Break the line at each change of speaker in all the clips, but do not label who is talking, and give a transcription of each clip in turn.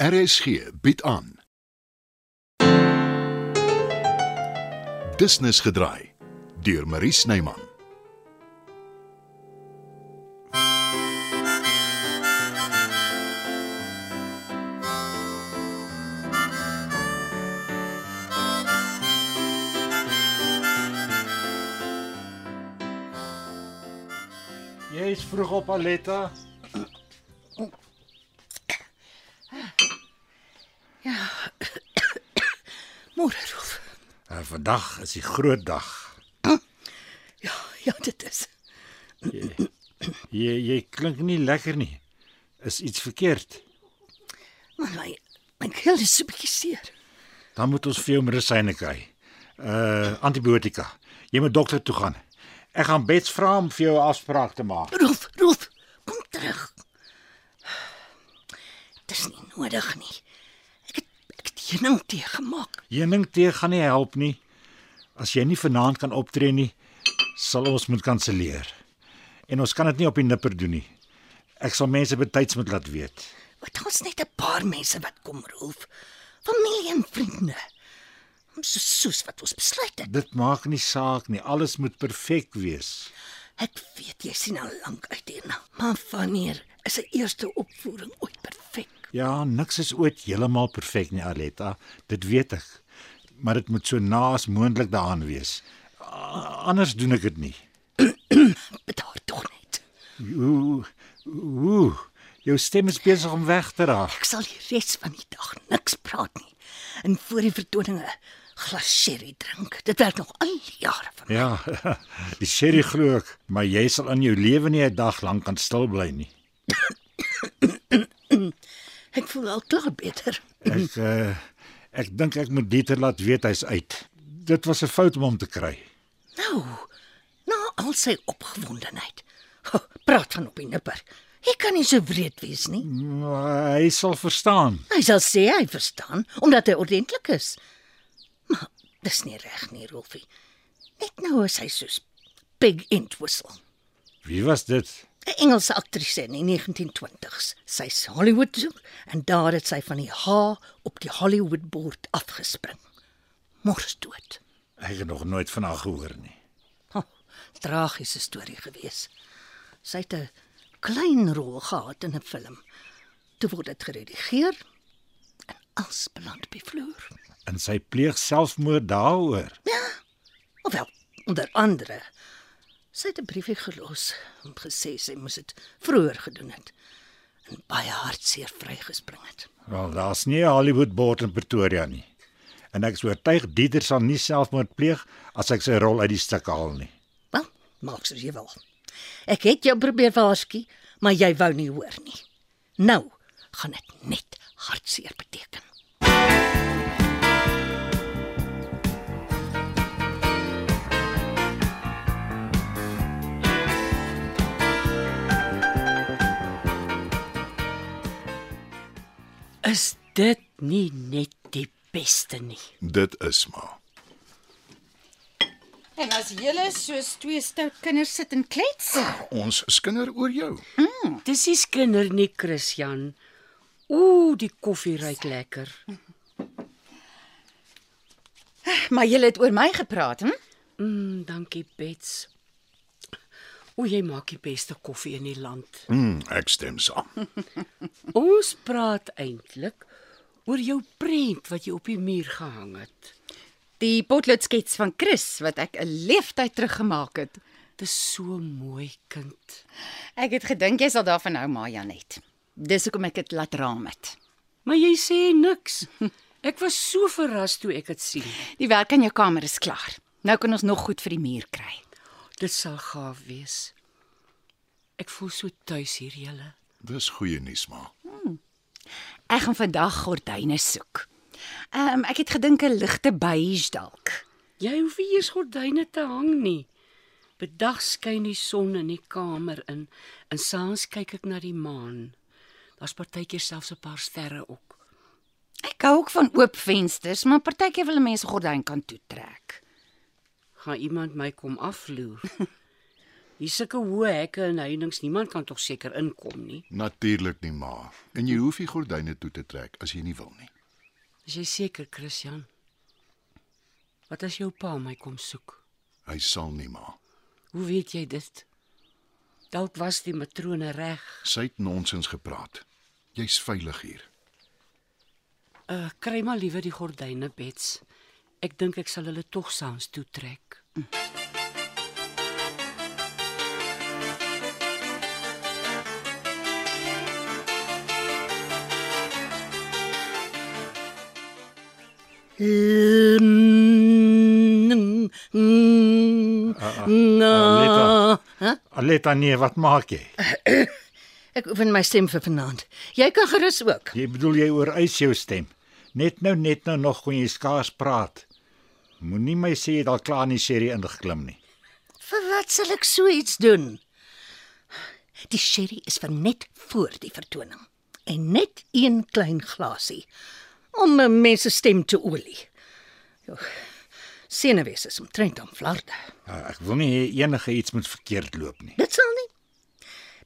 RSG bied aan. Business gedraai deur Marie Snyman.
Jy is vroeg op Aletta.
Môre Rolf.
En Eh, vandag is die groot dag.
Ja, ja, dit is.
Jy jy klink nie lekker nie. Is iets verkeerd?
Maar my my keel is so bietjie seer.
Dan moet ons vir jou medisyne kry. Uh antibiotika. Jy moet dokter toe gaan. Ek gaan Bets vra om vir jou 'n afspraak te maak.
Rolf, Rolf, kom terug. Dis nie nodig nie. Ek het ek het heuning tee gemaak.
Heuning tee gaan nie help nie. As jy nie vanaand kan optree nie, sal ons moet kanselleer. En ons kan dit nie op die nipper doen nie. Ek sal mense betyds moet laat weet.
Wat ons net 'n paar mense wat kom, Rolf. Familie en vriende. Ons is soos wat ons besluit het.
Dit maak nie saak nie. Alles moet perfek wees.
Ek weet jy sien al lank uit hierna, maar wanneer is 'n eerste opvoering ooit perfek?
Ja, niks is ooit heeltemal perfek nie, Aletta. Dit weet ek. Maar dit moet so naas moontlik daaraan wees. A- Anders doen ek dit nie.
Bedaar tog net.
Ooh, ooh. Jou stem is besig om weg te raak.
Ek sal die res van die dag niks praat nie. En voor die vertoninge glas sherry drink. Dit werk nog al die jare van.
Ja, die sherry glo ek, maar jy sal in jou lewe nie 'n dag lank kan stil bly nie.
Ek voel al klaar beter.
Ek uh, ek dink ek moet Dieter laat weet hy's uit. Dit was 'n fout om hom te kry.
Nou, na al sy opgewondenheid. Ho, praat van op die nipper. Hy kan nie so wreed wees nie.
Maar hy sal verstaan.
Hy sal sê hy verstaan omdat hy ordentlik is. Maar dis nie reg nie, Rolfie. Net nou is hy soos Pig Entwistle.
Wie was dit?
'n Engelse aktrise in die 1920s. Sy's Hollywood toe en daar het sy van die H op die Hollywood bord afgespring. Mors dood.
Ek het nog nooit van haar gehoor nie.
Oh, tragiese storie gewees. Sy het 'n klein rol gehad in 'n film. Toe word dit geredigeer en als beland op die vloer.
en sy pleeg selfmoord daaroor.
Ofwel, onder andere. Sy het 'n briefie gelos en gesê sy moes dit vroeër gedoen het en baie hartseer vrygespring het.
Wel, daar's nie 'n Hollywood bord in Pretoria nie. En ek is oortuig Dieter sal nie selfmoord pleeg as ek sy rol uit die stuk haal nie.
Wel, maak soos jy wil. Ek het jou probeer waarsku, maar jy wou nie hoor nie. Nou gaan dit net hartseer beteken.
Is dit nie net die beste nie?
Dit is maar.
En as julle soos twee stout kinders sit en klets,
Ons skinder oor jou.
Dis nie skinder nie, Christian. Ooh, die koffie ruik lekker.
maar julle het oor my gepraat, hm?
Mm, dankie Bets. O, jy maak die beste koffie in die land.
Mm, ek stem saam.
Ons praat eintlik oor jou prent wat jy op die muur gehang het.
Die potloodskets van Chris wat ek 'n leeftyd terug gemaak het.
Dis so mooi, kind.
Ek het gedink jy sal daarvan hou, maar Janet. Dis hoekom ek dit laat raam het.
Maar jy sê niks. Ek was so verras toe ek dit sien.
Die werk aan jou kamer is klaar. Nou kan ons nog goed vir die muur kry.
Dit sal gaaf wees. Ek voel so tuis hier, julle.
Dis goeie nuus maar.
Ek gaan vandag gordyne soek. Ehm um, ek het gedink 'n ligte beige dalk.
Jy hoef nie eers gordyne te hang nie. Bedag skyn die son in die kamer in en saans kyk ek na die maan. Daar's partykeer selfs 'n paar sterre ook.
Ek hou ook van oop vensters, maar partykeer wil 'n mens 'n gordyn kan toetrek.
Gaan iemand my kom afloer? Hier sulke hoë hekke en heininge, niemand kan tog seker inkom nie.
Natuurlik nie, ma. En jy hoef nie gordyne toe te trek as jy nie wil nie.
Is jy seker, Christian? Wat as jou pa my kom soek?
Hy sal nie, ma.
Hoe weet jy dit? Dalk was die matrone reg.
Sy het nonsens gepraat. Jy's veilig hier.
Uh, kry maar liewer die gordyne beds. Ek dink ek sal hulle tog saans toetrek.
Na.
Aletta nee, wat maak jy?
Ek oefen my stem vir vanaand. Jy kan gerus ook.
Jy bedoel jy oorwys jou stem. Net nou net nou nog kon jy skaars praat. Moenie my sê jy het al klaar in die serie ingeklim nie.
Vir wat sal ek so iets doen? Die sherry is vir net voor die vertoning en net een klein glasie om 'n mens se stem te olie. Jo, Senuwees is omtrent aan flarde.
Ja, ek wil nie hê enige iets moet verkeerd loop nie.
Dit sal nie.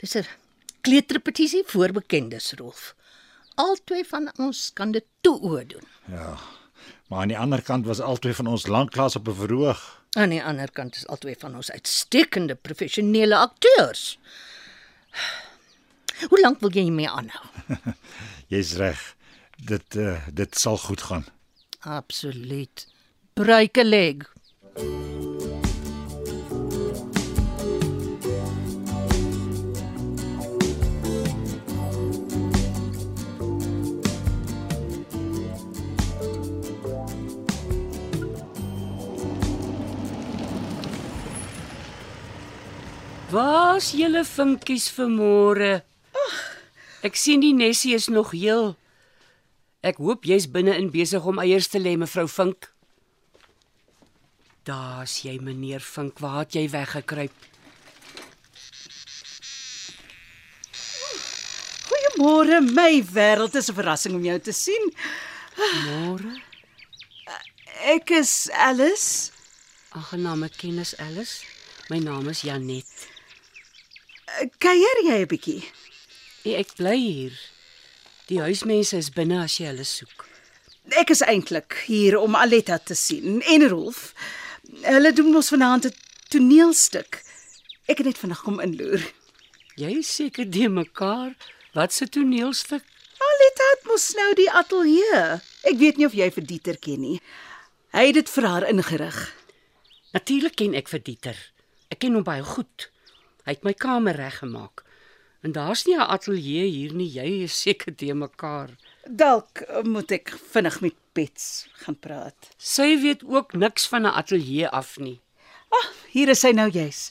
Dis 'n kleuterpetisie voor bekendes Rolf. Albei van ons kan dit toe oor doen.
Maar aan die ander kant was albei van ons lanklaas op 'n verhoog.
Aan die ander kant is albei van ons uitstekende professionele akteurs. Hoe lank wil jy hiermee aanhou?
Jy's reg. Dit uh, dit sal goed gaan.
Absoluut. Breek 'n leg.
Waar's julle vinkies vanmôre? Ek sien die nesie is nog heel. Ek hoop jy's binne-in besig om eiers te lê, mevrou Vink. Daar's jy, meneer Vink, waar het jy weggekruip?
Goeiemôre, my wêreld is 'n verrassing om jou te sien.
Môre?
Ek is Alice.
Aangename kennis, Alice. My naam is Janet.
Eh, Kuier jy 'n bietjie?
Nee, Ek bly hier. Die huismense is binne as jy hulle soek.
Ek is eintlik hier om Aletta te sien en Rolf. Hulle doen ons vanaand 'n toneelstuk. Ek het net vandag kom inloer.
Jy is seker die mekaar. Wat se toneelstuk?
Aletta het mos nou die ateljee. Ek weet nie of jy vir Dieter ken nie. Hy het dit vir haar ingerig.
Natuurlik ken ek vir Dieter. Ek ken hom baie goed. Hy het my kamer reggemaak. En daar's nie 'n ateljee hier nie. Jy is seker die mekaar.
Dalk eh, moet ek vinnig met Bets gaan praat.
Sy weet ook niks van 'n ateljee af nie.
Ag, hier is hy nou juis.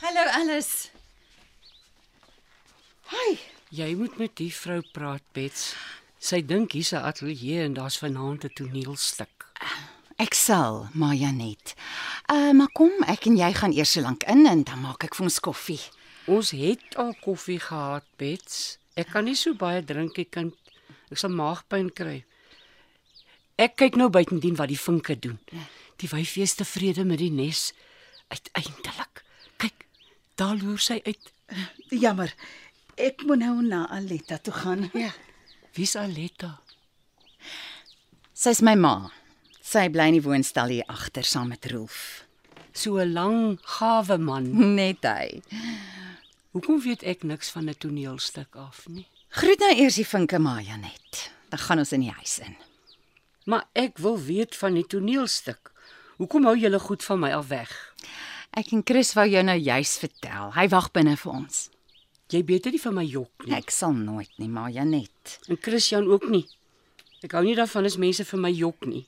Hallo Alice.
Hi.
Jy moet met die vrou praat, Bets. Sy dink hier's 'n ateljee en daar's vanaand 'n toneelstuk.
Ek sal, maar Janet. Uh maar kom, ek en jy gaan eers so lank in en dan maak ek vir ons koffie.
Ons het al koffie gehad, Bets. Ek kan nie so baie drink nie, kind. Ek sal maagpyn kry. Ek kyk nou buitendien wat die vinke doen.
Ja.
Die wyfie is tevrede met die nes uiteindelik. Kyk, daar loer sy uit.
Jammer. Ek moet nou na Aletta toe gaan. Ja.
Wie's Aletta?
Sy's my ma. Sy bly in die woonstel hier agter saam met Rolf.
So 'n lang, gawe man.
Net hy.
Hoekom weet ek niks van 'n toneelstuk af nie?
Groet nou eers die vinke maar Janet. Dan gaan ons in die huis in.
Maar ek wil weet van die toneelstuk. Hoekom hou julle goed van my af weg?
Ek en Chris wou jou nou juis vertel. Hy wag binne vir ons.
Jy beter nie vir my jok nie.
Ek sal nooit nie, maar Janet.
En Christian ook nie. Ek hou nie daarvan as mense vir my jok nie.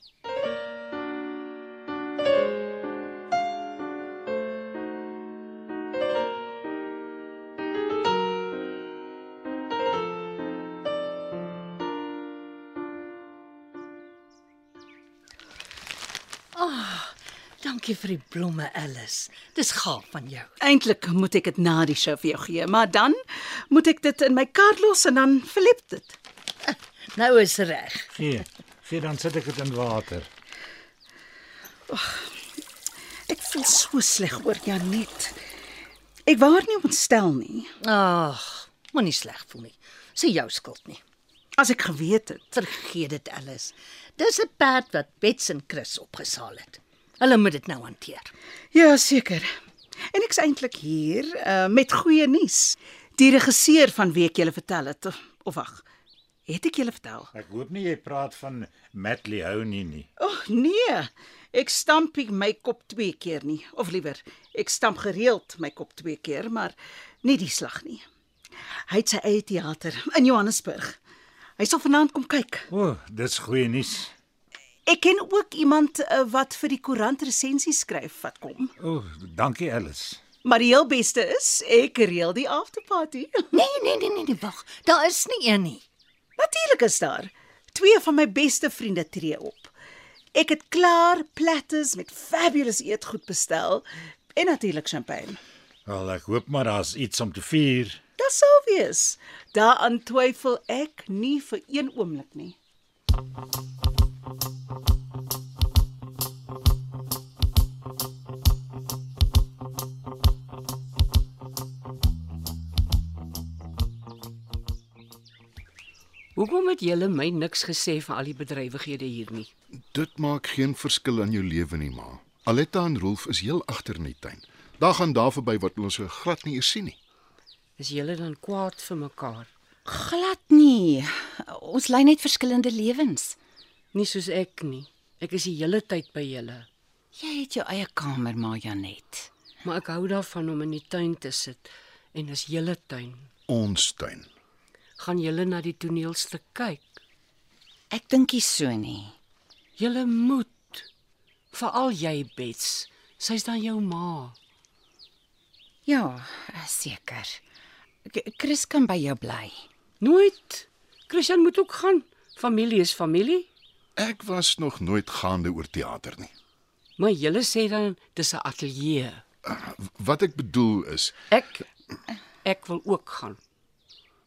Dankie vir die blomme, Alice. Dis gaaf van jou.
Eintlik moet ek dit na die show vir jou gee, maar dan moet ek dit in my kar los en dan verlep dit.
Nou is reg.
Gee. Gee dan sit ek dit in water.
Ek voel so sleg oor Janet. Ek wou haar nie ontstel nie.
Ag, moenie sleg voel nie. Dis jou skuld nie.
As ek geweet het.
Vergeet dit alles. Dis 'n perd wat Bets en Chris opgesaal het. Hulle moet dit nou hanteer.
Ja, seker. En ek's eintlik hier uh, met goeie nuus. Die regisseur van wie ek julle vertel het of, of wag, het ek julle vertel?
Ek hoop nie jy praat van Matt Leonie nie.
O oh, nee, ek stamp nie my kop twee keer nie, of liewer, ek stamp gereeld my kop twee keer, maar nie die slag nie. Hy het sy eie teater in Johannesburg. Hy sal vanaand kom kyk.
O, oh, dis goeie nuus.
Ek ken ook iemand uh, wat vir die koerant resensies skryf wat kom.
O, oh, dankie Alice.
Maar die heel beste is, ek reël die afterparty.
Nee, nee, nee, nee, nee wag. Daar is nie een nie.
Natuurlik is daar twee van my beste vriende tree op. Ek het klaar platters met fabulous eetgoed bestel en natuurlik champagne.
Wel, ek hoop maar daar's iets om te vier.
Dit sou wees. Daaraan twyfel ek nie vir een oomblik nie.
Hoekom het julle my niks gesê van al die bedrywighede hier nie?
Dit maak geen verskil aan jou lewe nie, ma. Aletta en Rolf is heel agter in die tuin. Daar gaan daar verby wat ons so glad nie eens sien nie.
Is julle dan kwaad vir mekaar?
Glad nie. Ons lei net verskillende lewens.
Nie soos ek nie. Ek is die hele tyd by julle,
Jy het jou eie kamer, maar Janet.
maar ek hou daarvan om in die tuin te sit en is julle tuin.
Ons tuin.
Gaan julle na die toneelstuk kyk?
Ek dink nie so nie.
Julle moet. Veral jy, Bets. Sy's dan jou ma.
Ja, eh, seker. K- Chris kan by jou bly.
Nooit. Christian moet ook gaan. Familie is familie.
Ek was nog nooit gaande oor teater nie.
Maar julle sê dan dis 'n ateljee.
Ah, Wat ek bedoel is,
Ek ek wil ook gaan.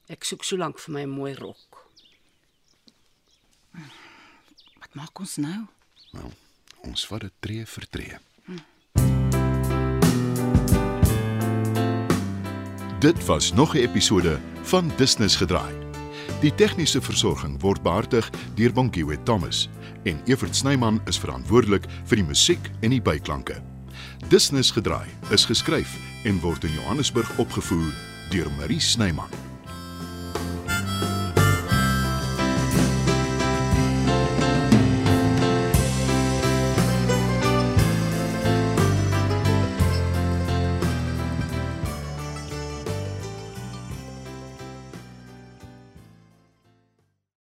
Ek soek so lank vir my 'n mooi rok.
Wat maak ons nou?
wel, ons vat dit tree vir tree. Dit was nog 'n episode van Business gedraai. Die tegniese versorging word behartig deur Bonnie Witt Thomas en Evert Snyman is verantwoordelik vir die musiek en die byklanke. Business gedraai is geskryf en word in Johannesburg opgevoer deur Marie Snyman.